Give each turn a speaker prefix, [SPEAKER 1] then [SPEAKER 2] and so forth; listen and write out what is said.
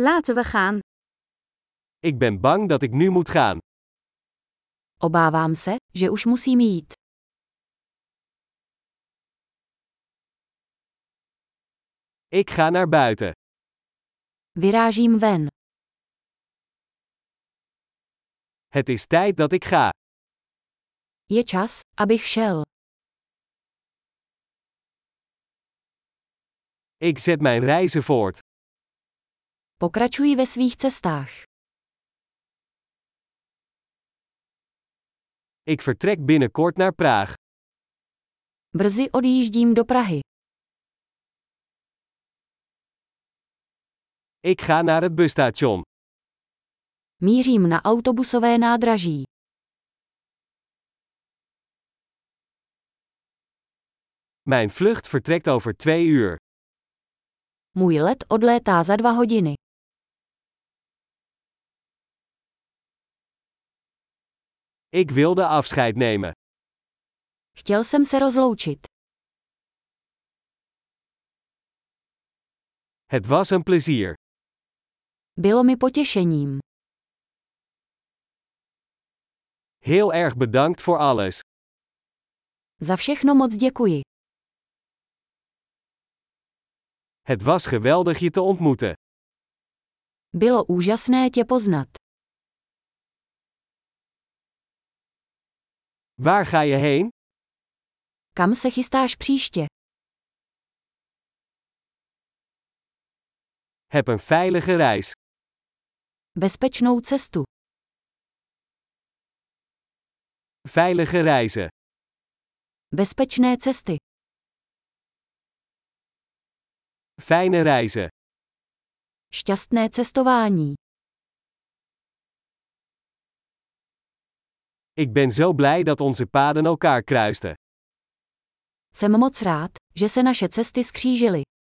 [SPEAKER 1] Laten we gaan.
[SPEAKER 2] Ik ben bang dat ik nu moet gaan.
[SPEAKER 3] Obávám se, že už musím jít.
[SPEAKER 2] Ik ga naar buiten.
[SPEAKER 3] Vyrážím ven.
[SPEAKER 2] Het is tijd dat ik ga.
[SPEAKER 3] Je čas, abych šel.
[SPEAKER 2] Ik zet mijn reizen voort.
[SPEAKER 3] Pokračuji ve svých cestách.
[SPEAKER 2] Ik vertrek binnenkort naar Praag.
[SPEAKER 3] Brzy odjíždím do Prahy.
[SPEAKER 2] Ik ga naar het busstation.
[SPEAKER 3] Mířím na autobusové nádraží.
[SPEAKER 2] Mijn vlucht vertrekt over twee uur.
[SPEAKER 3] Můj let odlétá za dva hodiny.
[SPEAKER 2] Ik wilde afscheid nemen.
[SPEAKER 3] Chtěl jsem se rozloučit.
[SPEAKER 2] Het was een plezier.
[SPEAKER 3] Bylo mi potěšením.
[SPEAKER 2] Heel erg bedankt voor alles.
[SPEAKER 3] Za všechno moc děkuji.
[SPEAKER 2] Het was geweldig je te ontmoeten.
[SPEAKER 3] Bylo úžasné tě poznat.
[SPEAKER 2] Waar ga je heen?
[SPEAKER 3] Kam se chystáš příště?
[SPEAKER 2] Heb een veilige reis.
[SPEAKER 3] Bezpečnou cestu.
[SPEAKER 2] Veilige reizen.
[SPEAKER 3] Bezpečné cesty.
[SPEAKER 2] Fijne reizen.
[SPEAKER 3] Šťastné cestování.
[SPEAKER 2] Ik ben zo blij dat onze paden elkaar kruisten.
[SPEAKER 3] Jsem moc rád, že se naše cesty skřížily.